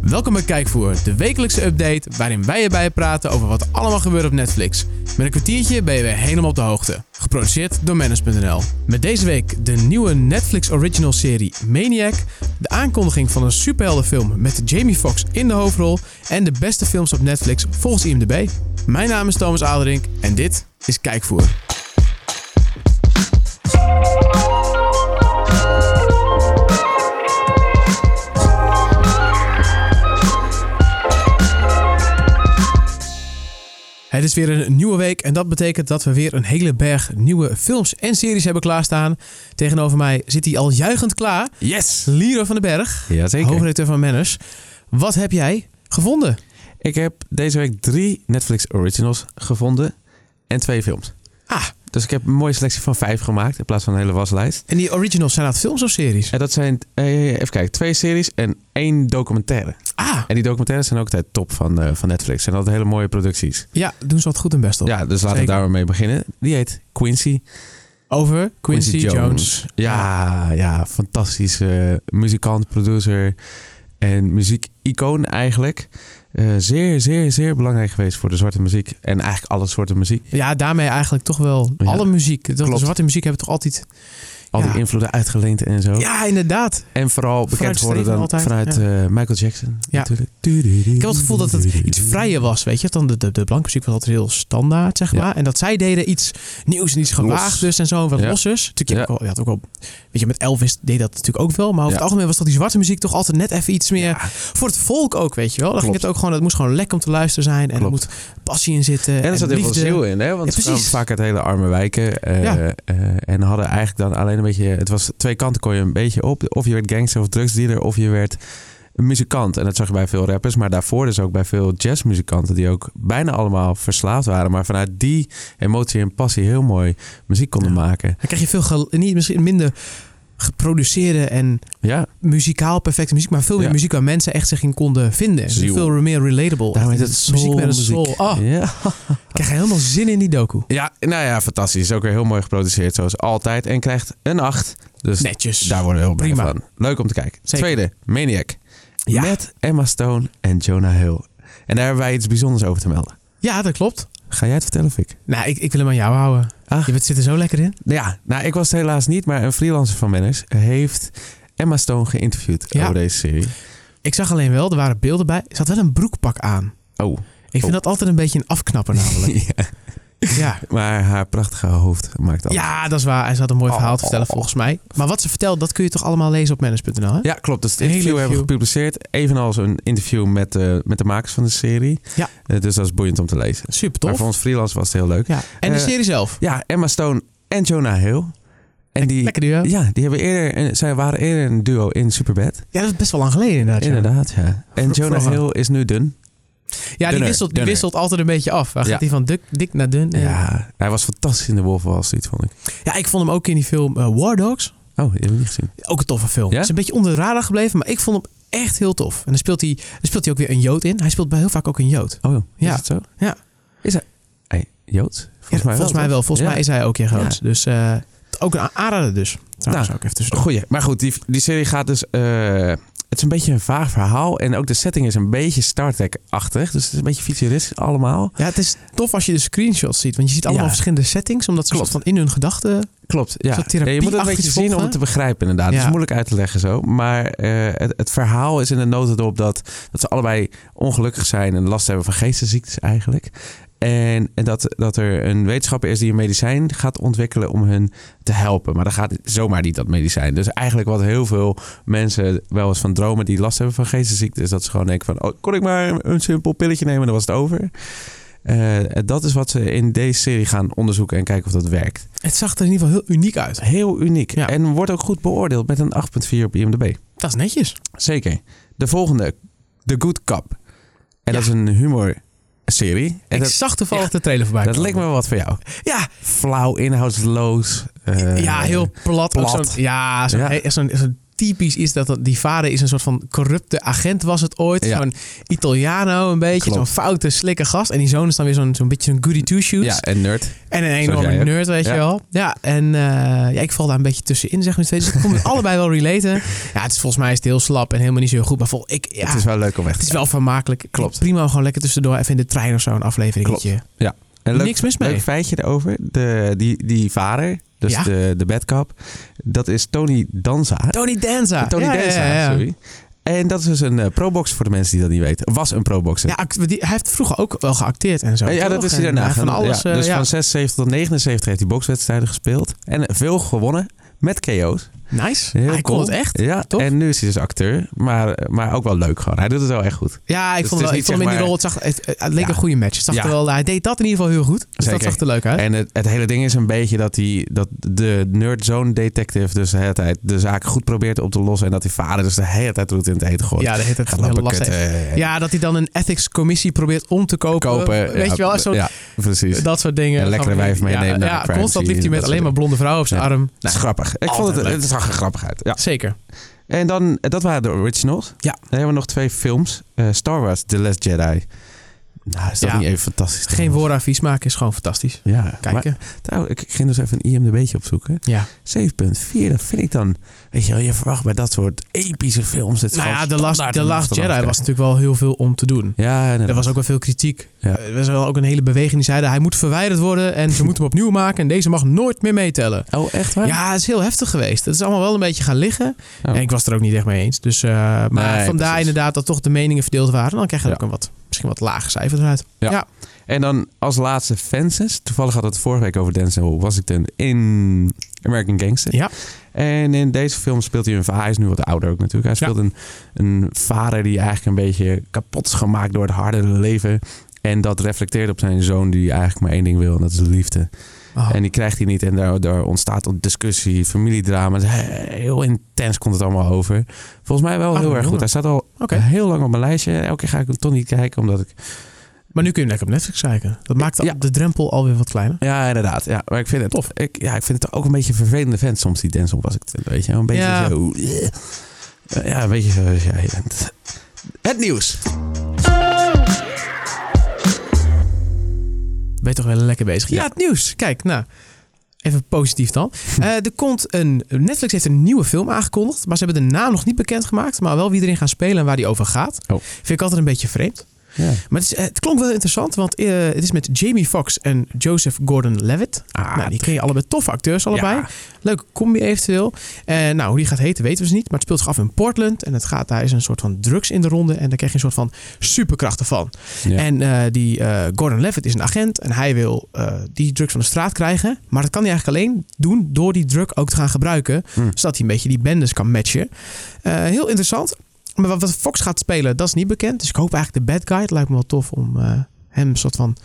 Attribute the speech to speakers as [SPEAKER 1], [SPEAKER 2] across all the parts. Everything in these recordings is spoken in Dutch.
[SPEAKER 1] Welkom bij Kijkvoer, de wekelijkse update waarin wij erbij praten over wat allemaal gebeurt op Netflix. Met een kwartiertje ben je weer helemaal op de hoogte. Geproduceerd door Manage.nl. Met deze week de nieuwe Netflix original serie Maniac, de aankondiging van een superheldenfilm met Jamie Foxx in de hoofdrol en de beste films op Netflix volgens IMDb. Mijn naam is Thomas Aderink en dit is Kijkvoer. Het is weer een nieuwe week en dat betekent dat we weer een hele berg nieuwe films en series hebben klaarstaan. Tegenover mij zit hij al juichend klaar.
[SPEAKER 2] Yes!
[SPEAKER 1] Liro van den Berg,
[SPEAKER 2] Jazeker.
[SPEAKER 1] hoofdredacteur van Manners. Wat heb jij gevonden?
[SPEAKER 2] Ik heb deze week drie Netflix Originals gevonden en twee films.
[SPEAKER 1] Ah,
[SPEAKER 2] Dus ik heb een mooie selectie van vijf gemaakt in plaats van een hele waslijst.
[SPEAKER 1] en die originals zijn dat films of series?
[SPEAKER 2] En dat zijn, eh, even kijken, twee series en één documentaire.
[SPEAKER 1] Ah,
[SPEAKER 2] En die documentaires zijn ook altijd top van, eh, van Netflix. Zijn altijd hele mooie producties.
[SPEAKER 1] ja, doen ze wat goed en best op.
[SPEAKER 2] Ja, dus laten we
[SPEAKER 1] Zeker.
[SPEAKER 2] daar maar mee beginnen. Die heet Quincy.
[SPEAKER 1] Over Quincy,
[SPEAKER 2] Quincy
[SPEAKER 1] Jones.
[SPEAKER 2] Jones. Ja, Ah, ja, fantastische muzikant, producer en muziekicoon eigenlijk. Eh, zeer, zeer, zeer belangrijk geweest voor de zwarte muziek. En eigenlijk alle soorten muziek.
[SPEAKER 1] Ja, daarmee eigenlijk toch wel
[SPEAKER 2] Ja.
[SPEAKER 1] alle muziek. Toch, De
[SPEAKER 2] Klopt.
[SPEAKER 1] zwarte muziek hebben toch altijd...
[SPEAKER 2] Al
[SPEAKER 1] Ja.
[SPEAKER 2] die invloeden uitgeleend en zo.
[SPEAKER 1] Ja, inderdaad.
[SPEAKER 2] En vooral bekend worden dan
[SPEAKER 1] altijd,
[SPEAKER 2] vanuit eh, Michael Jackson
[SPEAKER 1] Ja.
[SPEAKER 2] natuurlijk.
[SPEAKER 1] Ik heb het gevoel dat het iets vrijer was, weet je. Dan de, de, de blanke muziek was altijd heel standaard, zeg
[SPEAKER 2] Ja.
[SPEAKER 1] maar. En dat zij deden iets nieuws en iets gewaagd dus en zo. en Wat
[SPEAKER 2] Ja.
[SPEAKER 1] lossers. Natuurlijk, je, hebt ook
[SPEAKER 2] Ja.
[SPEAKER 1] wel, je had ook wel... Weet je, met Elvis deed dat natuurlijk ook wel. Maar over
[SPEAKER 2] Ja.
[SPEAKER 1] het algemeen was dat die zwarte muziek toch altijd net even iets meer... Voor het volk ook, weet je wel. Dan ging het
[SPEAKER 2] Klopt.
[SPEAKER 1] ook gewoon... Het moest gewoon lekker om te luisteren zijn. En er
[SPEAKER 2] Klopt.
[SPEAKER 1] moet passie in zitten.
[SPEAKER 2] En er zat heel veel
[SPEAKER 1] liefde.
[SPEAKER 2] ziel in, hè? Want
[SPEAKER 1] Ja,
[SPEAKER 2] ze kwamen
[SPEAKER 1] precies.
[SPEAKER 2] vaak uit hele arme wijken. eh,
[SPEAKER 1] Ja.
[SPEAKER 2] eh, en hadden eigenlijk dan alleen een beetje... Het was twee kanten kon je een beetje op. Of je werd gangster of drugsdealer of je werd een muzikant. En dat zag je bij veel rappers. Maar daarvoor dus ook bij veel jazzmuzikanten... die ook bijna allemaal verslaafd waren. Maar vanuit die emotie en passie heel mooi muziek konden
[SPEAKER 1] Ja.
[SPEAKER 2] maken.
[SPEAKER 1] Dan krijg je veel... gel- Niet, misschien minder geproduceerde en
[SPEAKER 2] Ja,
[SPEAKER 1] muzikaal perfecte muziek, maar veel meer
[SPEAKER 2] Ja.
[SPEAKER 1] muziek waar mensen echt zich in konden vinden. Dus
[SPEAKER 2] Ziel.
[SPEAKER 1] Veel meer relatable.
[SPEAKER 2] daarom heet
[SPEAKER 1] Echt
[SPEAKER 2] het
[SPEAKER 1] muziek met een
[SPEAKER 2] soulmuziek.
[SPEAKER 1] soul. Ah,
[SPEAKER 2] Ja.
[SPEAKER 1] Ik krijg helemaal zin in die doku.
[SPEAKER 2] Ja, nou ja, fantastisch. Is ook weer heel mooi geproduceerd, zoals altijd. En krijgt een 8. Dus
[SPEAKER 1] Netjes.
[SPEAKER 2] daar worden we heel blij
[SPEAKER 1] Prima.
[SPEAKER 2] van. Leuk om te kijken.
[SPEAKER 1] Zeker.
[SPEAKER 2] Tweede, Maniac.
[SPEAKER 1] Ja.
[SPEAKER 2] Met Emma Stone en Jonah Hill. En daar hebben wij iets bijzonders over te melden.
[SPEAKER 1] Ja, dat klopt.
[SPEAKER 2] Ga jij het vertellen of ik?
[SPEAKER 1] Nou, ik, ik wil hem aan jou houden.
[SPEAKER 2] Ah.
[SPEAKER 1] Je bent, zit er zo lekker in.
[SPEAKER 2] Nou Ja, nou ik was het helaas niet, maar een freelancer van Manners heeft Emma Stone geïnterviewd
[SPEAKER 1] Ja.
[SPEAKER 2] over deze serie.
[SPEAKER 1] Ik zag alleen wel, er waren beelden bij. Er zat wel een broekpak aan.
[SPEAKER 2] Oh,
[SPEAKER 1] Ik vind
[SPEAKER 2] Oh.
[SPEAKER 1] dat altijd een beetje een afknapper namelijk.
[SPEAKER 2] ja.
[SPEAKER 1] ja.
[SPEAKER 2] maar haar prachtige hoofd maakt dat.
[SPEAKER 1] ja, dat is waar. Hij had een mooi verhaal te
[SPEAKER 2] Oh.
[SPEAKER 1] vertellen volgens mij. Maar wat ze vertelt, dat kun je toch allemaal lezen op manage.nl, hè?
[SPEAKER 2] Ja, klopt. Dus het
[SPEAKER 1] Hele
[SPEAKER 2] interview, hebben we
[SPEAKER 1] interview.
[SPEAKER 2] gepubliceerd. Evenals een interview met, eh, met de makers van de serie.
[SPEAKER 1] Ja.
[SPEAKER 2] Eh, dus dat is boeiend om te lezen.
[SPEAKER 1] Super
[SPEAKER 2] Maar
[SPEAKER 1] tof.
[SPEAKER 2] voor ons freelance was het heel leuk.
[SPEAKER 1] Ja. En de
[SPEAKER 2] Eh,
[SPEAKER 1] serie zelf.
[SPEAKER 2] Ja, Emma Stone en Jonah Hill. En die,
[SPEAKER 1] Lekker duo.
[SPEAKER 2] ja, die hebben eerder, en zij waren eerder een duo in Superbad.
[SPEAKER 1] Ja, dat is best wel lang geleden inderdaad. ja.
[SPEAKER 2] Inderdaad, ja. En Jonah
[SPEAKER 1] Vroeger.
[SPEAKER 2] Hill is nu dun.
[SPEAKER 1] Ja, die,
[SPEAKER 2] Dunner,
[SPEAKER 1] wisselt, die
[SPEAKER 2] dunner.
[SPEAKER 1] wisselt altijd een beetje af. Waar
[SPEAKER 2] Ja.
[SPEAKER 1] gaat die van dik, dik naar dun? En-
[SPEAKER 2] Ja, hij was fantastisch in de Wolf of Wall Street, vond ik.
[SPEAKER 1] Ja, ik vond hem ook in die film eh, War Dogs.
[SPEAKER 2] Oh, die heb ik niet gezien.
[SPEAKER 1] Ook een toffe film.
[SPEAKER 2] Ja?
[SPEAKER 1] Het is een beetje onder de radar gebleven, maar ik vond hem echt heel tof. En dan speelt hij, dan speelt hij ook weer een Jood in. Hij speelt bij heel vaak ook een Jood.
[SPEAKER 2] Oh, is
[SPEAKER 1] Ja.
[SPEAKER 2] het zo?
[SPEAKER 1] Ja.
[SPEAKER 2] Is hij... Hey, Joods?
[SPEAKER 1] Ja,
[SPEAKER 2] Volgens mij wel. toch?
[SPEAKER 1] Volgens
[SPEAKER 2] Ja.
[SPEAKER 1] mij is hij ook in Joods. Dus eh, ook een aanrader dus. Trouwens
[SPEAKER 2] Nou,
[SPEAKER 1] ook even tussen.
[SPEAKER 2] Goeie. Maar goed, die, die serie gaat dus... eh, het is een beetje een vaag verhaal. En ook de setting is een beetje Star Trek-achtig. Dus het is een beetje futuristisch allemaal.
[SPEAKER 1] Ja, het is tof als je de screenshots ziet. Want je ziet allemaal
[SPEAKER 2] Ja. verschillende
[SPEAKER 1] verschillende settings. Omdat
[SPEAKER 2] ze
[SPEAKER 1] ze van in hun gedachten...
[SPEAKER 2] Klopt, ja.
[SPEAKER 1] Zo'n therapie-
[SPEAKER 2] Ja, je moet het een
[SPEAKER 1] achtig
[SPEAKER 2] beetje
[SPEAKER 1] iets
[SPEAKER 2] zien om
[SPEAKER 1] volgen.
[SPEAKER 2] het te begrijpen inderdaad. Het
[SPEAKER 1] Ja.
[SPEAKER 2] is moeilijk uit te leggen zo. Maar eh, het, het verhaal is in de notendop dat, dat ze allebei ongelukkig zijn... en last hebben van geestesziektes eigenlijk. En, en dat, dat er een wetenschapper is die een medicijn gaat ontwikkelen om hun te helpen. Maar dat gaat zomaar niet, dat medicijn. Dus eigenlijk wat heel veel mensen wel eens van dromen die last hebben van geestesziektes... dat ze gewoon denken van, oh, kon ik maar een simpel pilletje nemen, dan was het over. Eh, dat is wat ze in deze serie gaan onderzoeken en kijken of dat werkt.
[SPEAKER 1] Het zag er in ieder geval heel uniek uit.
[SPEAKER 2] Heel uniek.
[SPEAKER 1] Ja.
[SPEAKER 2] En wordt ook goed beoordeeld met een 8.4 op IMDb.
[SPEAKER 1] Dat is netjes.
[SPEAKER 2] Zeker. De volgende, The Good Cup.
[SPEAKER 1] Ja.
[SPEAKER 2] En dat is een humorserie. En
[SPEAKER 1] ik
[SPEAKER 2] dat,
[SPEAKER 1] zag toevallig de trailer voorbij
[SPEAKER 2] dat
[SPEAKER 1] komen.
[SPEAKER 2] leek me wel wat voor jou.
[SPEAKER 1] Ja,
[SPEAKER 2] Flauw, inhoudsloos. eh,
[SPEAKER 1] ja, heel plat. ook
[SPEAKER 2] plat.
[SPEAKER 1] zo'n- ja, zo'n
[SPEAKER 2] Ja.
[SPEAKER 1] he- zo'n zo'n typisch is dat, dat die vader is een soort van corrupte agent was het ooit.
[SPEAKER 2] Ja.
[SPEAKER 1] Zo'n Italiano een beetje,
[SPEAKER 2] Klopt.
[SPEAKER 1] zo'n foute, slikke gast. En die zoon is dan weer zo'n zo'n beetje zo'n goody two-shoes.
[SPEAKER 2] Ja, en nerd.
[SPEAKER 1] En een
[SPEAKER 2] Zoals
[SPEAKER 1] enorme
[SPEAKER 2] jij ook.
[SPEAKER 1] nerd, weet
[SPEAKER 2] Ja.
[SPEAKER 1] je wel. Ja, en eh, ja, ik val daar een beetje tussenin, zeg maar steeds. Dus ik kon het allebei wel relaten. Ja, het is volgens mij is het heel slap en helemaal niet zo heel goed. Maar vol, ik, ja,
[SPEAKER 2] Het is wel leuk om weg te
[SPEAKER 1] het is wel vermakelijk.
[SPEAKER 2] Klopt.
[SPEAKER 1] Prima om gewoon lekker tussendoor even in de trein of zo een afleveringetje.
[SPEAKER 2] En leuk,
[SPEAKER 1] Niks mis mee.
[SPEAKER 2] leuk feitje daarover. De, die, die vader, dus
[SPEAKER 1] Ja.
[SPEAKER 2] de, de bedkap, dat is Tony Danza.
[SPEAKER 1] Tony Danza.
[SPEAKER 2] Tony
[SPEAKER 1] ja,
[SPEAKER 2] Danza,
[SPEAKER 1] Ja, ja, ja.
[SPEAKER 2] sorry. En dat is dus een eh, pro-boxer voor de mensen die dat niet weten. Was een pro-boxer.
[SPEAKER 1] Ja, act- die- hij heeft vroeger ook wel geacteerd en zo.
[SPEAKER 2] Ja,
[SPEAKER 1] toch?
[SPEAKER 2] dat is hij
[SPEAKER 1] En
[SPEAKER 2] daarna.
[SPEAKER 1] heeft
[SPEAKER 2] gaan
[SPEAKER 1] Van
[SPEAKER 2] doen.
[SPEAKER 1] alles.
[SPEAKER 2] Ja,
[SPEAKER 1] eh,
[SPEAKER 2] dus
[SPEAKER 1] ja.
[SPEAKER 2] van 76 tot 79 heeft hij bokswedstrijden gespeeld. En veel gewonnen met KO's.
[SPEAKER 1] Nice.
[SPEAKER 2] Heel
[SPEAKER 1] hij
[SPEAKER 2] cool.
[SPEAKER 1] kon het echt.
[SPEAKER 2] Ja,
[SPEAKER 1] tof.
[SPEAKER 2] en nu is hij dus acteur. Maar, maar ook wel leuk gewoon. Hij doet het wel echt goed.
[SPEAKER 1] Ja, ik
[SPEAKER 2] Dus
[SPEAKER 1] vond,
[SPEAKER 2] het
[SPEAKER 1] wel,
[SPEAKER 2] is
[SPEAKER 1] ik vond hem in
[SPEAKER 2] niet zeg
[SPEAKER 1] die rol. Het, zag, het, het leek
[SPEAKER 2] Ja.
[SPEAKER 1] een goede match. Het zag
[SPEAKER 2] Ja.
[SPEAKER 1] er wel, hij deed dat in ieder geval heel goed. Dus
[SPEAKER 2] Zeker.
[SPEAKER 1] dat zag er leuk uit.
[SPEAKER 2] En het, het hele ding is een beetje dat, hij, dat de nerd zo'n detective dus de hele tijd de zaak goed probeert op te lossen. En dat die vader dus de hele tijd roet in het eten gooit.
[SPEAKER 1] ja, dat heet het
[SPEAKER 2] Gaat
[SPEAKER 1] heel
[SPEAKER 2] lopen
[SPEAKER 1] lastig.
[SPEAKER 2] kutten. eh,
[SPEAKER 1] Ja, dat hij dan een ethics commissie probeert om te kopen.
[SPEAKER 2] kopen.
[SPEAKER 1] Weet
[SPEAKER 2] ja,
[SPEAKER 1] je wel, zo,
[SPEAKER 2] Ja, precies.
[SPEAKER 1] dat soort dingen.
[SPEAKER 2] Een lekkere
[SPEAKER 1] Gewoon,
[SPEAKER 2] wijf
[SPEAKER 1] ja,
[SPEAKER 2] meenemen naar de
[SPEAKER 1] Ja,
[SPEAKER 2] crime
[SPEAKER 1] constant liep hij
[SPEAKER 2] scene,
[SPEAKER 1] met
[SPEAKER 2] dat
[SPEAKER 1] alleen maar
[SPEAKER 2] soort
[SPEAKER 1] blonde vrouwen op zijn
[SPEAKER 2] Ja.
[SPEAKER 1] arm.
[SPEAKER 2] Het is grappig. Ik vond
[SPEAKER 1] altijd
[SPEAKER 2] het,
[SPEAKER 1] leuk.
[SPEAKER 2] het zag er grappig uit. Ja.
[SPEAKER 1] Zeker.
[SPEAKER 2] En dan, eh, dat waren de originals.
[SPEAKER 1] Ja.
[SPEAKER 2] Dan hebben we nog twee films. Eh, Star Wars, The Last Jedi. Nou, is dat
[SPEAKER 1] Ja.
[SPEAKER 2] niet even fantastisch?
[SPEAKER 1] Dus Geen woordadvies maken is gewoon fantastisch.
[SPEAKER 2] Ja, maar,
[SPEAKER 1] Kijken.
[SPEAKER 2] nou, ik ik ging dus even een IMDb'tje opzoeken. 7.4,
[SPEAKER 1] ja.
[SPEAKER 2] dat vind ik dan... Weet je wel, je verwacht bij dat soort epische films... Het
[SPEAKER 1] Nou
[SPEAKER 2] gewoon
[SPEAKER 1] ja, The Last,
[SPEAKER 2] standaard
[SPEAKER 1] The
[SPEAKER 2] een
[SPEAKER 1] Last
[SPEAKER 2] masterclass
[SPEAKER 1] Jedi was
[SPEAKER 2] krijgt.
[SPEAKER 1] natuurlijk wel heel veel om te doen.
[SPEAKER 2] Ja,
[SPEAKER 1] Er
[SPEAKER 2] inderdaad.
[SPEAKER 1] was ook wel veel kritiek.
[SPEAKER 2] Ja.
[SPEAKER 1] Eh, Er was wel ook een hele beweging die zeiden... hij moet verwijderd worden en ze moeten hem opnieuw maken... en deze mag nooit meer meetellen.
[SPEAKER 2] Oh, echt waar?
[SPEAKER 1] Ja, het is heel heftig geweest. Het is allemaal wel een beetje gaan liggen.
[SPEAKER 2] Oh.
[SPEAKER 1] En ik was er ook niet echt mee eens. Dus, eh, maar
[SPEAKER 2] Nee,
[SPEAKER 1] vandaar
[SPEAKER 2] precies.
[SPEAKER 1] inderdaad dat toch de meningen verdeeld waren. Dan krijg je
[SPEAKER 2] Ja.
[SPEAKER 1] ook een wat, misschien wat lager cijfer eruit.
[SPEAKER 2] En dan als laatste Fences. Toevallig had het vorige week over Denzel Washington in American Gangster.
[SPEAKER 1] Ja.
[SPEAKER 2] En in deze film speelt hij een va- Hij is nu wat ouder ook natuurlijk. Hij speelt een, een vader die eigenlijk een beetje kapot is gemaakt door het harde leven. En dat reflecteert op zijn zoon die eigenlijk maar één ding wil en dat is liefde.
[SPEAKER 1] Oh.
[SPEAKER 2] En die krijgt hij niet en daar, daar ontstaat een discussie, familiedrama. Het is he- Heel intens komt het allemaal over. Volgens mij wel
[SPEAKER 1] Ah,
[SPEAKER 2] heel erg
[SPEAKER 1] jongen.
[SPEAKER 2] goed. Hij staat al
[SPEAKER 1] Oké.
[SPEAKER 2] heel lang op mijn lijstje. Elke keer ga ik hem toch niet kijken omdat ik
[SPEAKER 1] Maar nu kun je hem lekker op Netflix kijken. Dat maakt
[SPEAKER 2] Ja.
[SPEAKER 1] de drempel alweer wat kleiner.
[SPEAKER 2] Ja, inderdaad. Ja, maar ik vind het
[SPEAKER 1] Tof.
[SPEAKER 2] Ik, ja, ik vind het ook een beetje een vervelende vent soms, die Denzel was ik. Weet je, wel. een beetje
[SPEAKER 1] Ja.
[SPEAKER 2] zo. eh, Ja, een beetje zoals jij bent. Het nieuws.
[SPEAKER 1] Ben je toch wel lekker bezig? Ja,
[SPEAKER 2] Ja.
[SPEAKER 1] het nieuws. Kijk, nou. Even positief dan. Eh, er komt een, Netflix heeft een nieuwe film aangekondigd. Maar ze hebben de naam nog niet bekendgemaakt. Maar wel wie erin gaan spelen en waar die over gaat.
[SPEAKER 2] Oh.
[SPEAKER 1] Vind ik altijd een beetje vreemd.
[SPEAKER 2] Ja.
[SPEAKER 1] Maar het, is, eh, het klonk wel interessant. Want eh, het is met Jamie Foxx en Joseph Gordon-Levitt.
[SPEAKER 2] Ah,
[SPEAKER 1] nou, die ken je allebei. Toffe acteurs allebei.
[SPEAKER 2] Ja.
[SPEAKER 1] Leuke combi eventueel. En nou, hoe die gaat heten weten we dus niet. Maar het speelt zich af in Portland. En het gaat, daar is een soort van drugs in de ronde. En daar krijg je een soort van superkrachten van.
[SPEAKER 2] Ja.
[SPEAKER 1] En eh, die eh, Gordon Levitt is een agent. En hij wil eh, die drugs van de straat krijgen. Maar dat kan hij eigenlijk alleen doen door die drug ook te gaan gebruiken.
[SPEAKER 2] Mm.
[SPEAKER 1] Zodat hij een beetje die bendes kan matchen. Eh, heel interessant. Maar wat- wat Fox gaat spelen, dat is niet bekend. Dus ik hoop eigenlijk de bad guy. Het lijkt me wel tof om eh, hem een soort van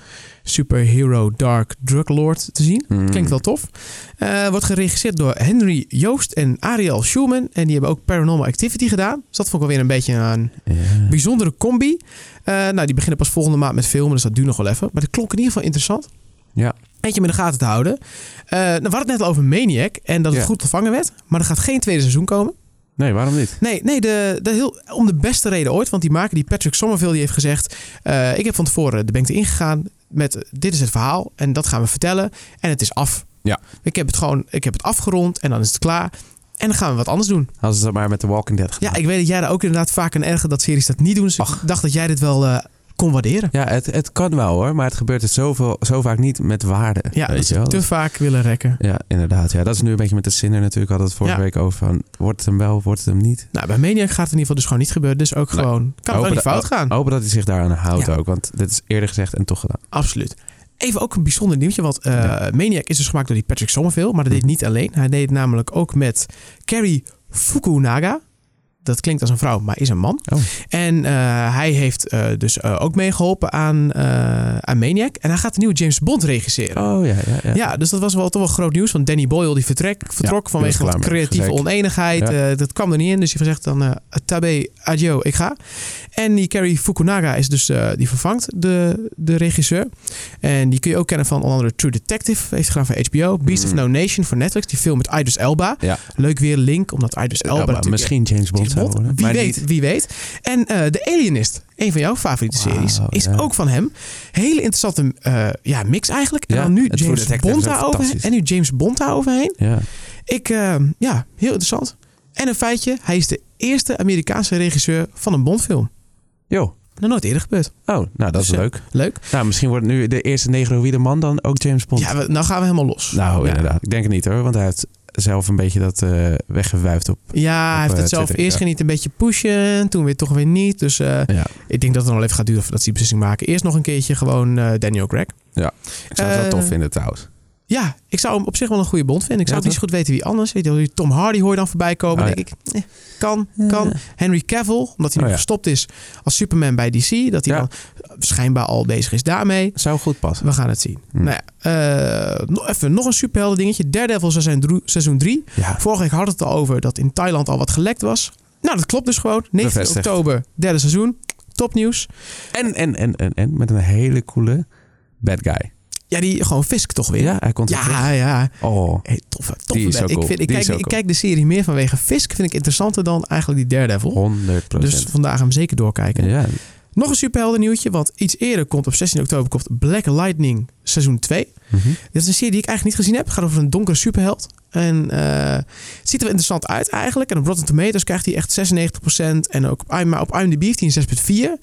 [SPEAKER 1] superhero dark drug lord te zien.
[SPEAKER 2] Mm.
[SPEAKER 1] Klinkt wel tof. Eh, wordt geregisseerd door Henry Joost en Ariel Schumann. En die hebben ook Paranormal Activity gedaan. Dus dat vond ik wel weer een beetje een
[SPEAKER 2] Ja.
[SPEAKER 1] bijzondere combi. Eh, nou, die beginnen pas volgende maand met filmen, dus dat duurt nog wel even. Maar dat klonk in ieder geval interessant.
[SPEAKER 2] Ja.
[SPEAKER 1] Eentje om in de gaten te houden. Eh nou, we hadden het net al over Maniac en dat het
[SPEAKER 2] Ja.
[SPEAKER 1] goed ontvangen werd. Maar er gaat geen tweede seizoen komen.
[SPEAKER 2] Nee, waarom niet?
[SPEAKER 1] Nee, nee de, de heel, om de beste reden ooit. Want die maker, die Patrick Somerville, die heeft gezegd... eh, ik heb van tevoren de bank ingegaan met eh, dit is het verhaal en dat gaan we vertellen. En het is af.
[SPEAKER 2] Ja.
[SPEAKER 1] Ik heb het gewoon ik heb het afgerond en dan is het klaar. En dan gaan we wat anders doen.
[SPEAKER 2] Als ze dat maar met The Walking Dead gedaan.
[SPEAKER 1] Ja, ik weet dat jij daar ook inderdaad vaak een erger dat series dat niet doen. Dus ik dacht dat jij dit wel eh, kon waarderen.
[SPEAKER 2] Ja, het, het kan wel hoor, maar het gebeurt het zoveel, zo vaak niet met waarde.
[SPEAKER 1] Ja,
[SPEAKER 2] weet
[SPEAKER 1] dat
[SPEAKER 2] je
[SPEAKER 1] ze
[SPEAKER 2] wel.
[SPEAKER 1] te vaak willen rekken.
[SPEAKER 2] Ja, inderdaad. Ja, dat is nu een beetje met de Sinner natuurlijk. Hadden we het vorige
[SPEAKER 1] Ja.
[SPEAKER 2] week over van, wordt het hem wel, wordt het hem niet?
[SPEAKER 1] Nou, bij Maniac gaat het in ieder geval dus gewoon niet gebeuren. Dus ook
[SPEAKER 2] Nee.
[SPEAKER 1] gewoon, kan het ook
[SPEAKER 2] Hopen
[SPEAKER 1] niet
[SPEAKER 2] dat- oh,
[SPEAKER 1] fout gaan.
[SPEAKER 2] Hopen dat hij zich daaraan houdt
[SPEAKER 1] Ja.
[SPEAKER 2] ook, want dit is eerder gezegd en toch gedaan.
[SPEAKER 1] Absoluut. Even ook een bijzonder nieuwtje, want eh,
[SPEAKER 2] oh. Ja. Hm.
[SPEAKER 1] Maniac is dus gemaakt door die Patrick Somerville, maar dat deed
[SPEAKER 2] Mhm.
[SPEAKER 1] niet alleen. Hij deed het namelijk ook met Kerry Fukunaga. dat klinkt als een vrouw, maar is een man.
[SPEAKER 2] Oh.
[SPEAKER 1] En eh, hij heeft eh, dus eh, ook meegeholpen aan, eh, aan Maniac. En hij gaat een nieuwe James Bond regisseren.
[SPEAKER 2] Oh ja, ja, ja.
[SPEAKER 1] Ja, dus dat was wel toch wel groot nieuws. Want Danny Boyle die vertrek, vertrok
[SPEAKER 2] die
[SPEAKER 1] vanwege
[SPEAKER 2] was
[SPEAKER 1] wat
[SPEAKER 2] klaar met,
[SPEAKER 1] creatieve
[SPEAKER 2] zeker.
[SPEAKER 1] oneenigheid. Eh, dat kwam er niet in. Dus hij heeft gezegd dan eh tabé, adieu, ik ga. En die Kerry Fukunaga is dus, eh, die vervangt de, de regisseur. En die kun je ook kennen van onder andere True Detective. Heeft gedaan voor HBO. Beast of
[SPEAKER 2] Mm.
[SPEAKER 1] No Nation voor Netflix. Die film met Idris Elba.
[SPEAKER 2] Ja.
[SPEAKER 1] Leuk weer link, omdat Idris Elba
[SPEAKER 2] Ja, maar
[SPEAKER 1] natuurlijk-
[SPEAKER 2] misschien James Bond
[SPEAKER 1] James
[SPEAKER 2] zou
[SPEAKER 1] Bond.
[SPEAKER 2] worden.
[SPEAKER 1] Wie
[SPEAKER 2] maar
[SPEAKER 1] weet,
[SPEAKER 2] niet-
[SPEAKER 1] wie weet. En eh, De Alienist, een van jouw favoriete
[SPEAKER 2] Wauw,
[SPEAKER 1] series, is
[SPEAKER 2] ja.
[SPEAKER 1] ook van hem. Hele interessante eh, ja, mix eigenlijk. En
[SPEAKER 2] Ja,
[SPEAKER 1] dan nu
[SPEAKER 2] het True
[SPEAKER 1] James
[SPEAKER 2] Detective
[SPEAKER 1] Bond
[SPEAKER 2] is ook
[SPEAKER 1] daarover.
[SPEAKER 2] fantastisch.
[SPEAKER 1] En nu James Bond daaroverheen.
[SPEAKER 2] Ja.
[SPEAKER 1] Ik, eh, ja, heel interessant. En een feitje, hij is de eerste Amerikaanse regisseur van een Bondfilm.
[SPEAKER 2] Jo.
[SPEAKER 1] Nog nooit eerder gebeurd.
[SPEAKER 2] Oh, nou dat is
[SPEAKER 1] Dus, eh,
[SPEAKER 2] leuk.
[SPEAKER 1] Leuk.
[SPEAKER 2] Nou, misschien wordt nu de eerste negroïde man dan ook James Bond.
[SPEAKER 1] Ja, we- nou gaan we helemaal los.
[SPEAKER 2] Nou,
[SPEAKER 1] ja.
[SPEAKER 2] inderdaad. Ik denk het niet hoor, want hij heeft zelf een beetje dat eh weggewuifd op.
[SPEAKER 1] Ja, hij
[SPEAKER 2] Op,
[SPEAKER 1] heeft
[SPEAKER 2] eh,
[SPEAKER 1] het zelf
[SPEAKER 2] Twitter,
[SPEAKER 1] eerst
[SPEAKER 2] ja.
[SPEAKER 1] ging niet een beetje pushen, toen weer toch weer niet. Dus eh,
[SPEAKER 2] Ja.
[SPEAKER 1] ik denk dat het nog wel even gaat duren voordat ze die beslissing maken. Eerst nog een keertje gewoon eh, Daniel Craig.
[SPEAKER 2] Ik zou het wel
[SPEAKER 1] Eh,
[SPEAKER 2] tof vinden trouwens.
[SPEAKER 1] Ja, ik zou hem op zich wel een goede bond vinden. Ik
[SPEAKER 2] Ja,
[SPEAKER 1] zou het niet zo goed weten wie anders. Weet je, wel, Tom Hardy hoor je dan voorbij komen.
[SPEAKER 2] Oh, ja.
[SPEAKER 1] denk ik, eh, kan, kan.
[SPEAKER 2] Ja.
[SPEAKER 1] Henry Cavill, omdat hij
[SPEAKER 2] Oh,
[SPEAKER 1] nu
[SPEAKER 2] ja.
[SPEAKER 1] gestopt is als Superman bij DC. Dat hij
[SPEAKER 2] Ja.
[SPEAKER 1] dan schijnbaar al bezig is daarmee.
[SPEAKER 2] Zou goed passen.
[SPEAKER 1] We gaan het zien.
[SPEAKER 2] Hmm.
[SPEAKER 1] Nou ja, eh, nog even nog een superhelden dingetje. Daredevil seizoen drie- seizoen 3.
[SPEAKER 2] Ja.
[SPEAKER 1] Vorige week hadden we het al over dat in Thailand al wat gelekt was. Nou, dat klopt dus gewoon. 19
[SPEAKER 2] Bevestigd.
[SPEAKER 1] oktober, derde seizoen. Topnieuws.
[SPEAKER 2] En, en, en, en, en met een hele coole bad guy.
[SPEAKER 1] Ja, die gewoon Fisk toch weer.
[SPEAKER 2] Oh, Ja, hij komt er terug.
[SPEAKER 1] ja, ja.
[SPEAKER 2] Oh,
[SPEAKER 1] Hey, toffe, toffe
[SPEAKER 2] Die is
[SPEAKER 1] band.
[SPEAKER 2] ook
[SPEAKER 1] ik,
[SPEAKER 2] cool.
[SPEAKER 1] vind, ik,
[SPEAKER 2] Die
[SPEAKER 1] kijk,
[SPEAKER 2] is ook
[SPEAKER 1] ik
[SPEAKER 2] cool.
[SPEAKER 1] kijk de serie meer vanwege Fisk. Vind ik interessanter dan eigenlijk die Daredevil.
[SPEAKER 2] 100
[SPEAKER 1] Dus vandaag hem zeker doorkijken.
[SPEAKER 2] ja,
[SPEAKER 1] Nog een superhelden nieuwtje. Want iets eerder komt op 16 oktober komt Black Lightning seizoen 2.
[SPEAKER 2] Mhm.
[SPEAKER 1] Dit is een serie die ik eigenlijk niet gezien heb. Het gaat over een donkere superheld. En eh, het ziet er wel interessant uit eigenlijk. En op Rotten Tomatoes krijgt hij echt 96%. En ook op, IM, maar op IMDb heeft hij een 6,4.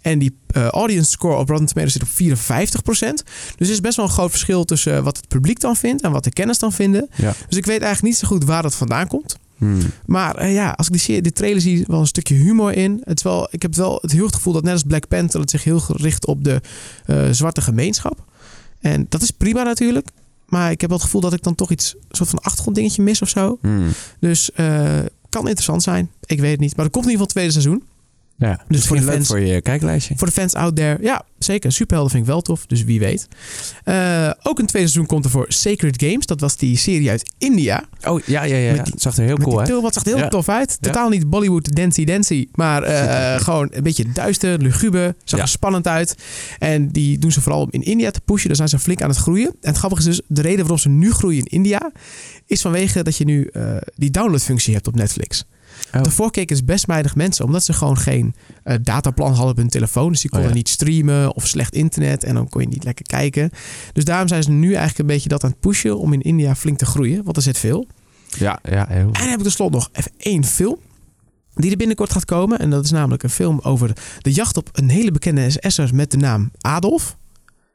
[SPEAKER 1] En die eh, audience score op Rotten Tomatoes zit op 54%. Dus er is best wel een groot verschil tussen eh, wat het publiek dan vindt... en wat de kenners dan vinden.
[SPEAKER 2] Ja.
[SPEAKER 1] Dus ik weet eigenlijk niet zo goed waar dat vandaan komt.
[SPEAKER 2] Hmm.
[SPEAKER 1] Maar eh, ja, als ik die, serie, die trailer zie, wel een stukje humor in. Het is wel, ik heb wel het heel het gevoel dat net als Black Panther... het zich heel gericht op de eh, zwarte gemeenschap. En dat is prima natuurlijk. Maar ik heb wel het gevoel dat ik dan toch iets... een soort van achtergronddingetje mis of zo.
[SPEAKER 2] Hmm.
[SPEAKER 1] Dus eh, kan interessant zijn. Ik weet het niet. Maar er komt in ieder geval het tweede seizoen.
[SPEAKER 2] Ja,
[SPEAKER 1] Dus voor de
[SPEAKER 2] leuk
[SPEAKER 1] fans-
[SPEAKER 2] voor je kijklijstje.
[SPEAKER 1] Voor de fans out there. Ja, zeker. Superhelden vind ik wel tof. Dus wie weet. Eh, ook een tweede seizoen komt er voor Sacred Games. Dat was die serie uit India.
[SPEAKER 2] Oh, ja, ja, ja.
[SPEAKER 1] Met
[SPEAKER 2] ja.
[SPEAKER 1] die-
[SPEAKER 2] Het zag er heel
[SPEAKER 1] Met
[SPEAKER 2] cool
[SPEAKER 1] die
[SPEAKER 2] uit.
[SPEAKER 1] til, wat zag er heel
[SPEAKER 2] Ja.
[SPEAKER 1] tof uit.
[SPEAKER 2] Ja.
[SPEAKER 1] Totaal niet Bollywood dancy dancy. Maar eh, gewoon een beetje duister, luguber. Zag
[SPEAKER 2] Ja.
[SPEAKER 1] er spannend uit. En die doen ze vooral om in India te pushen. Daar zijn ze flink aan het groeien. En het grappige is dus, de reden waarom ze nu groeien in India... is vanwege dat je nu eh, die downloadfunctie hebt op Netflix.
[SPEAKER 2] Oh.
[SPEAKER 1] Daarvoor keken dus best weinig mensen. Omdat ze gewoon geen eh, dataplan hadden op hun telefoon. Dus die
[SPEAKER 2] Oh,
[SPEAKER 1] konden
[SPEAKER 2] ja.
[SPEAKER 1] niet streamen of slecht internet. En dan kon je niet lekker kijken. Dus daarom zijn ze nu eigenlijk een beetje dat aan het pushen... om in India flink te groeien. Want er zit veel.
[SPEAKER 2] Ja, ja, heel
[SPEAKER 1] En dan heb ik tenslotte nog even één film. Die er binnenkort gaat komen. En dat is namelijk een film over de jacht op een hele bekende SS'er met de naam Adolf.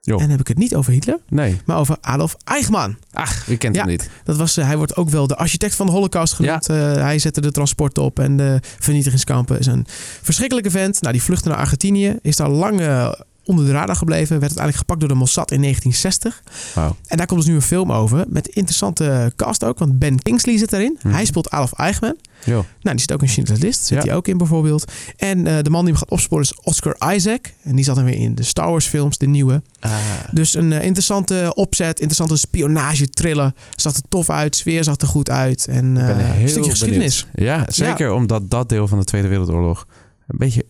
[SPEAKER 2] Jo.
[SPEAKER 1] En dan heb ik het niet over Hitler,
[SPEAKER 2] Nee.
[SPEAKER 1] maar over Adolf Eichmann.
[SPEAKER 2] Ach, wie kent
[SPEAKER 1] Ja.
[SPEAKER 2] hem niet?
[SPEAKER 1] Dat was, eh, hij wordt ook wel de architect van de holocaust genoemd. Eh, hij zette de transport op en de vernietigingskampen. Is een verschrikkelijke vent. Nou, die vluchtte naar Argentinië. Is daar lang eh, onder de radar gebleven. Werd uiteindelijk gepakt door de Mossad in 1960.
[SPEAKER 2] Wauw.
[SPEAKER 1] En daar komt dus nu een film over. Met interessante cast ook. Want Ben Kingsley zit erin.
[SPEAKER 2] Mhm.
[SPEAKER 1] Hij speelt Adolf Eichmann.
[SPEAKER 2] Jo.
[SPEAKER 1] Nou, die zit ook in Schindler's List. Zit
[SPEAKER 2] Ja.
[SPEAKER 1] hij ook in bijvoorbeeld. En eh, de man die hem gaat opsporen is Oscar Isaac. En die zat dan weer in de Star Wars films, de nieuwe. Dus een eh, interessante opzet, interessante spionagetriller. Zag er tof uit, sfeer zag er goed uit. En eh,
[SPEAKER 2] ben heel
[SPEAKER 1] een stukje
[SPEAKER 2] benieuwd.
[SPEAKER 1] geschiedenis.
[SPEAKER 2] Ja, zeker omdat dat deel van de Tweede Wereldoorlog een beetje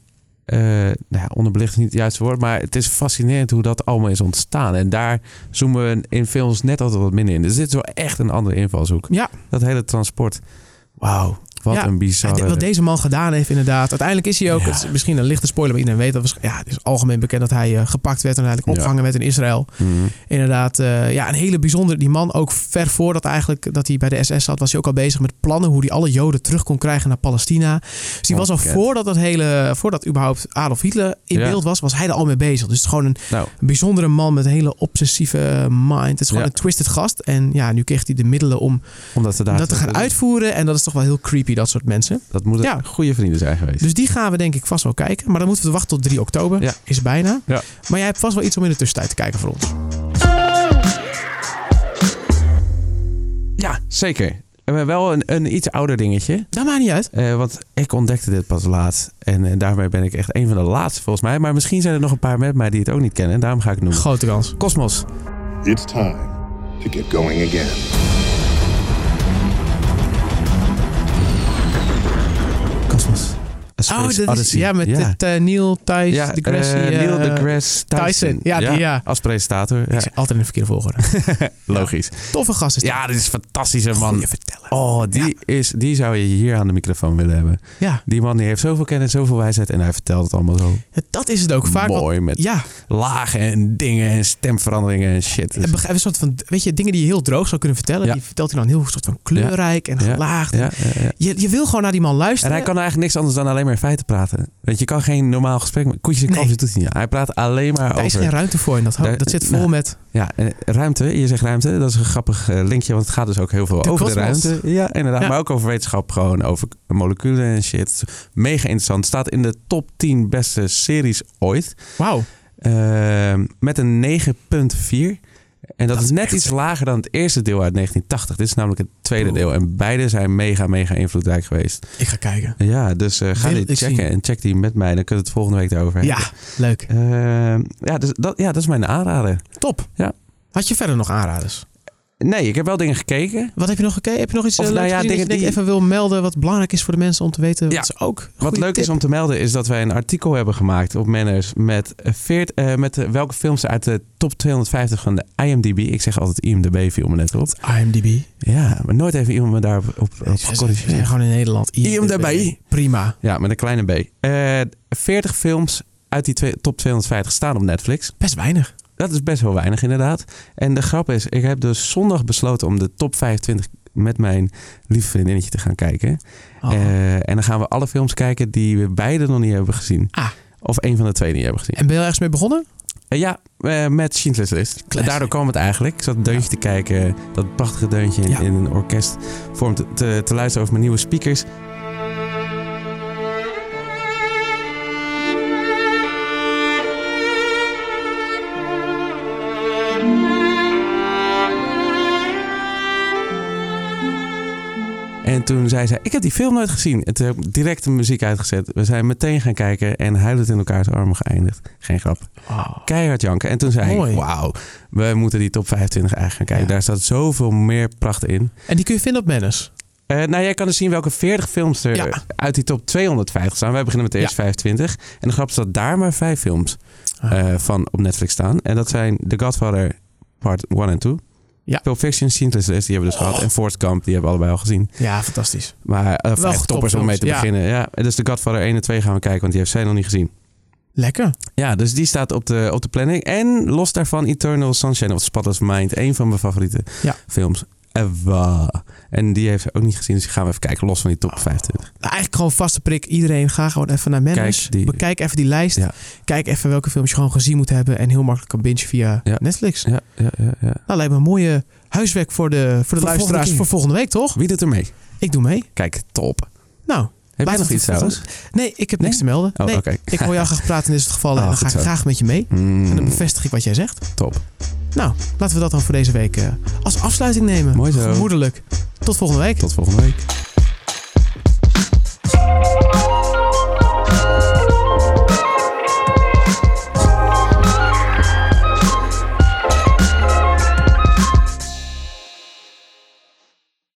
[SPEAKER 2] eh, nou ja, onderbelicht is niet het juiste woord, maar het is fascinerend hoe dat allemaal is ontstaan. En daar zoomen we in films net altijd wat minder in. Dus dit is wel echt een andere invalshoek.
[SPEAKER 1] Ja.
[SPEAKER 2] Dat hele transport. Wauw, wat
[SPEAKER 1] Ja,
[SPEAKER 2] een
[SPEAKER 1] En de-
[SPEAKER 2] bizarre...
[SPEAKER 1] wat deze man gedaan heeft inderdaad. Uiteindelijk is hij ook,
[SPEAKER 2] Ja.
[SPEAKER 1] het is misschien een lichte spoiler, maar iedereen weet dat. waarsch- Ja, het is algemeen bekend dat hij eh, gepakt werd en uiteindelijk
[SPEAKER 2] Ja.
[SPEAKER 1] opgehangen werd in Israël.
[SPEAKER 2] Mhm.
[SPEAKER 1] Inderdaad, eh, ja, een hele bijzondere. Die man, ook ver voordat eigenlijk dat hij bij de SS zat, was hij ook al bezig met plannen hoe hij alle Joden terug kon krijgen naar Palestina. Dus die was al
[SPEAKER 2] Ongekend.
[SPEAKER 1] voordat dat hele, voordat überhaupt Adolf Hitler in
[SPEAKER 2] Ja.
[SPEAKER 1] beeld was, was hij er al mee bezig. Dus het is gewoon een
[SPEAKER 2] Nou,
[SPEAKER 1] bijzondere man met een hele obsessieve mind. Het is gewoon
[SPEAKER 2] Ja.
[SPEAKER 1] een twisted gast. En ja, nu kreeg hij de middelen om
[SPEAKER 2] omdat ze daar...
[SPEAKER 1] dat te gaan uitvoeren. En dat is toch wel heel creepy, dat soort mensen.
[SPEAKER 2] Dat moeten
[SPEAKER 1] Ja.
[SPEAKER 2] goede vrienden zijn geweest.
[SPEAKER 1] Dus die gaan we denk ik vast wel kijken. Maar dan moeten we wachten tot 3 oktober.
[SPEAKER 2] Ja.
[SPEAKER 1] Is bijna.
[SPEAKER 2] Ja.
[SPEAKER 1] Maar jij hebt vast wel iets om in de tussentijd te kijken voor ons.
[SPEAKER 2] Ja, zeker. eh, wel een, een iets ouder dingetje.
[SPEAKER 1] Dat maakt niet uit.
[SPEAKER 2] Eh, want ik ontdekte dit pas laat. En eh, daarmee ben ik echt een van de laatste volgens mij. Maar misschien zijn er nog een paar met mij die het ook niet kennen. En daarom ga ik het noemen.
[SPEAKER 1] Grote kans.
[SPEAKER 2] Cosmos.
[SPEAKER 3] It's time to get going again.
[SPEAKER 2] Cosmos. A Space
[SPEAKER 1] Oh, dat is-
[SPEAKER 2] Odyssey.
[SPEAKER 1] ja, met
[SPEAKER 2] ja.
[SPEAKER 1] het, eh, Neil Thijs
[SPEAKER 2] ja,
[SPEAKER 1] de Grassy.
[SPEAKER 2] eh, Neil
[SPEAKER 1] eh,
[SPEAKER 2] deGrasse Tyson.
[SPEAKER 1] Tyson. Ja, die, ja.
[SPEAKER 2] Als presentator. Ja,
[SPEAKER 1] Ik zeg altijd in de verkeerde volgorde.
[SPEAKER 2] logisch.
[SPEAKER 1] Toffe gast is dat.
[SPEAKER 2] Ja, dit is een fantastische man.
[SPEAKER 1] Goeie vertellen.
[SPEAKER 2] Oh, die, is, die zou je hier aan de microfoon willen hebben.
[SPEAKER 1] Ja,
[SPEAKER 2] Die man die heeft zoveel kennis, zoveel wijsheid. En hij vertelt het allemaal zo
[SPEAKER 1] dat is het ook vaak. want-
[SPEAKER 2] mooi. Met
[SPEAKER 1] ja,
[SPEAKER 2] lagen en dingen en stemveranderingen en shit.
[SPEAKER 1] en begrijp een soort van, weet je, dingen die je heel droog zou kunnen vertellen.
[SPEAKER 2] Ja.
[SPEAKER 1] Die vertelt hij dan heel soort van kleurrijk en
[SPEAKER 2] Ja,
[SPEAKER 1] gelaagd.
[SPEAKER 2] ja, ja, ja.
[SPEAKER 1] Je, je wil gewoon naar die man
[SPEAKER 2] En
[SPEAKER 1] luisteren.
[SPEAKER 2] hij kan eigenlijk niks anders dan alleen maar in feiten praten. Want je kan geen normaal gesprek met koetjes en
[SPEAKER 1] Nee.
[SPEAKER 2] kalfjes doet hij niet. Hij praat alleen maar
[SPEAKER 1] Daar is
[SPEAKER 2] over...
[SPEAKER 1] geen ruimte voor in dat hoofd.
[SPEAKER 2] Daar-
[SPEAKER 1] Dat zit vol
[SPEAKER 2] nou,
[SPEAKER 1] met...
[SPEAKER 2] Ja, en ruimte. Je zegt ruimte. Dat is een grappig eh, linkje, want het gaat dus ook heel veel
[SPEAKER 1] De
[SPEAKER 2] over
[SPEAKER 1] kosmos.
[SPEAKER 2] de ruimte. Ja, inderdaad.
[SPEAKER 1] Ja.
[SPEAKER 2] Maar ook over wetenschap, gewoon over moleculen en shit. Mega interessant. Staat in de top 10 beste series ooit.
[SPEAKER 1] Wauw.
[SPEAKER 2] Ehm, met een 9,4. En dat,
[SPEAKER 1] is
[SPEAKER 2] is net
[SPEAKER 1] echt-
[SPEAKER 2] iets lager dan het eerste deel uit 1980. Dit is namelijk het tweede
[SPEAKER 1] Oeh.
[SPEAKER 2] deel. En beide zijn mega, mega invloedrijk geweest.
[SPEAKER 1] Ik ga kijken.
[SPEAKER 2] Ja, dus eh, ga
[SPEAKER 1] Wil
[SPEAKER 2] dit
[SPEAKER 1] ik
[SPEAKER 2] checken
[SPEAKER 1] zien.
[SPEAKER 2] en check die met mij. Dan kunnen we het volgende week daarover hebben.
[SPEAKER 1] Ja, leuk.
[SPEAKER 2] Ehm, ja, dus dat, ja, dat is mijn aanrader.
[SPEAKER 1] Top.
[SPEAKER 2] Ja.
[SPEAKER 1] Had je verder nog aanraders?
[SPEAKER 2] Nee, ik heb wel dingen gekeken.
[SPEAKER 1] Wat heb je nog gekeken? Heb je nog iets
[SPEAKER 2] Of
[SPEAKER 1] eh,
[SPEAKER 2] nou
[SPEAKER 1] leuks
[SPEAKER 2] ja,
[SPEAKER 1] gezien dat je
[SPEAKER 2] dingen
[SPEAKER 1] denkt
[SPEAKER 2] die-
[SPEAKER 1] even wil melden wat belangrijk is voor de mensen om te weten?
[SPEAKER 2] Ja.
[SPEAKER 1] Wat ze ook
[SPEAKER 2] Wat
[SPEAKER 1] goede
[SPEAKER 2] leuk
[SPEAKER 1] tip.
[SPEAKER 2] is om te melden is dat wij een artikel hebben gemaakt op Manners met, eh, veert, eh, met eh, welke films uit de top 250 van de IMDb. Ik zeg altijd IMDb viel me net op.
[SPEAKER 1] IMDb.
[SPEAKER 2] Ja, maar nooit even iemand me daarop op, op
[SPEAKER 1] Ze zijn- ze zijn
[SPEAKER 2] gecorrigeerd.
[SPEAKER 1] gewoon in Nederland. eh,
[SPEAKER 2] IMDb.
[SPEAKER 1] Prima.
[SPEAKER 2] Ja, met een kleine B. Eh 40 films uit die twee- top 250 staan op Netflix.
[SPEAKER 1] Best weinig.
[SPEAKER 2] Dat is best wel weinig inderdaad. En de grap is, ik heb dus zondag besloten om de top 25 met mijn lief vriendinnetje te gaan kijken.
[SPEAKER 1] Oh.
[SPEAKER 2] Eh, en dan gaan we alle films kijken die we beide nog niet hebben gezien.
[SPEAKER 1] Ah.
[SPEAKER 2] Of een van de twee niet hebben gezien.
[SPEAKER 1] en ben je ergens mee begonnen?
[SPEAKER 2] Eh, ja, eh, met Schindler's List.
[SPEAKER 1] Classic.
[SPEAKER 2] Daardoor kwam het eigenlijk. Ik zat een deuntje te kijken. Dat prachtige deuntje in,
[SPEAKER 1] Ja.
[SPEAKER 2] in een orkest. Vorm te, te, te luisteren over mijn nieuwe speakers. En toen zei ze, ik heb die film nooit gezien. En toen heb ik direct de muziek uitgezet. We zijn meteen gaan kijken en huilend in elkaars armen geëindigd. Geen grap keihard janken. En toen zei
[SPEAKER 1] Mooi.
[SPEAKER 2] ik, wauw, we moeten die top 25 eigenlijk gaan kijken.
[SPEAKER 1] Ja.
[SPEAKER 2] Daar staat zoveel meer pracht in.
[SPEAKER 1] En die kun je vinden op Mennes.
[SPEAKER 2] Eh, nou, jij kan dus zien welke 40 films er
[SPEAKER 1] Ja.
[SPEAKER 2] uit die top 250 staan. Wij beginnen met de eerste 25. En de grap is dat daar maar vijf films
[SPEAKER 1] Ah.
[SPEAKER 2] eh, van op Netflix staan. En dat zijn The Godfather Part 1 en 2.
[SPEAKER 1] Ja. Oh.
[SPEAKER 2] Pulp Fiction, Schindler's List, die hebben we dus gehad. En Forrest Gump, die hebben we allebei al gezien.
[SPEAKER 1] Ja, fantastisch.
[SPEAKER 2] Maar eh
[SPEAKER 1] Wel
[SPEAKER 2] vijf toppers om
[SPEAKER 1] topfilms,
[SPEAKER 2] mee te
[SPEAKER 1] ja.
[SPEAKER 2] beginnen. Ja. Dus The Godfather 1 en 2 gaan we kijken, want die heeft zij nog niet gezien.
[SPEAKER 1] Lekker.
[SPEAKER 2] Ja, dus die staat op de, op de planning. En los daarvan Eternal Sunshine of the Spotless Mind. Een van mijn favoriete
[SPEAKER 1] Ja.
[SPEAKER 2] films ever. En die heeft ze ook niet gezien. Dus die gaan we even kijken. Los van die top 25.
[SPEAKER 1] Nou, eigenlijk gewoon vaste prik. Iedereen, ga gewoon even naar Mennes.
[SPEAKER 2] Kijk die-
[SPEAKER 1] Bekijk even die lijst.
[SPEAKER 2] Ja.
[SPEAKER 1] Kijk even welke films je gewoon gezien moet hebben. En heel makkelijk kan bingen via
[SPEAKER 2] Ja.
[SPEAKER 1] Netflix.
[SPEAKER 2] Ja, ja, ja, ja.
[SPEAKER 1] Nou, lijkt me een mooie huiswerk voor de, voor de
[SPEAKER 2] volgende
[SPEAKER 1] luisteraars
[SPEAKER 2] keer.
[SPEAKER 1] voor volgende week, toch?
[SPEAKER 2] Wie doet er mee?
[SPEAKER 1] Ik doe mee.
[SPEAKER 2] Kijk, top.
[SPEAKER 1] Nou,
[SPEAKER 2] Heb jij
[SPEAKER 1] Laten
[SPEAKER 2] nog
[SPEAKER 1] we
[SPEAKER 2] iets
[SPEAKER 1] het
[SPEAKER 2] trouwens?
[SPEAKER 1] nee, ik heb niks
[SPEAKER 2] Nee?
[SPEAKER 1] te melden.
[SPEAKER 2] Oh,
[SPEAKER 1] nee,
[SPEAKER 2] oké.
[SPEAKER 1] Ik hoor jou graag praten in dit soort gevallen. en
[SPEAKER 2] Ah,
[SPEAKER 1] dan ga
[SPEAKER 2] goed
[SPEAKER 1] ik
[SPEAKER 2] zo.
[SPEAKER 1] graag met je mee. En dan
[SPEAKER 2] Mm,
[SPEAKER 1] bevestig ik wat jij zegt.
[SPEAKER 2] top.
[SPEAKER 1] Nou, laten we dat dan voor deze week eh, als afsluiting nemen.
[SPEAKER 2] Mooi zo.
[SPEAKER 1] Gemoedelijk. Tot volgende week.
[SPEAKER 2] Tot volgende week.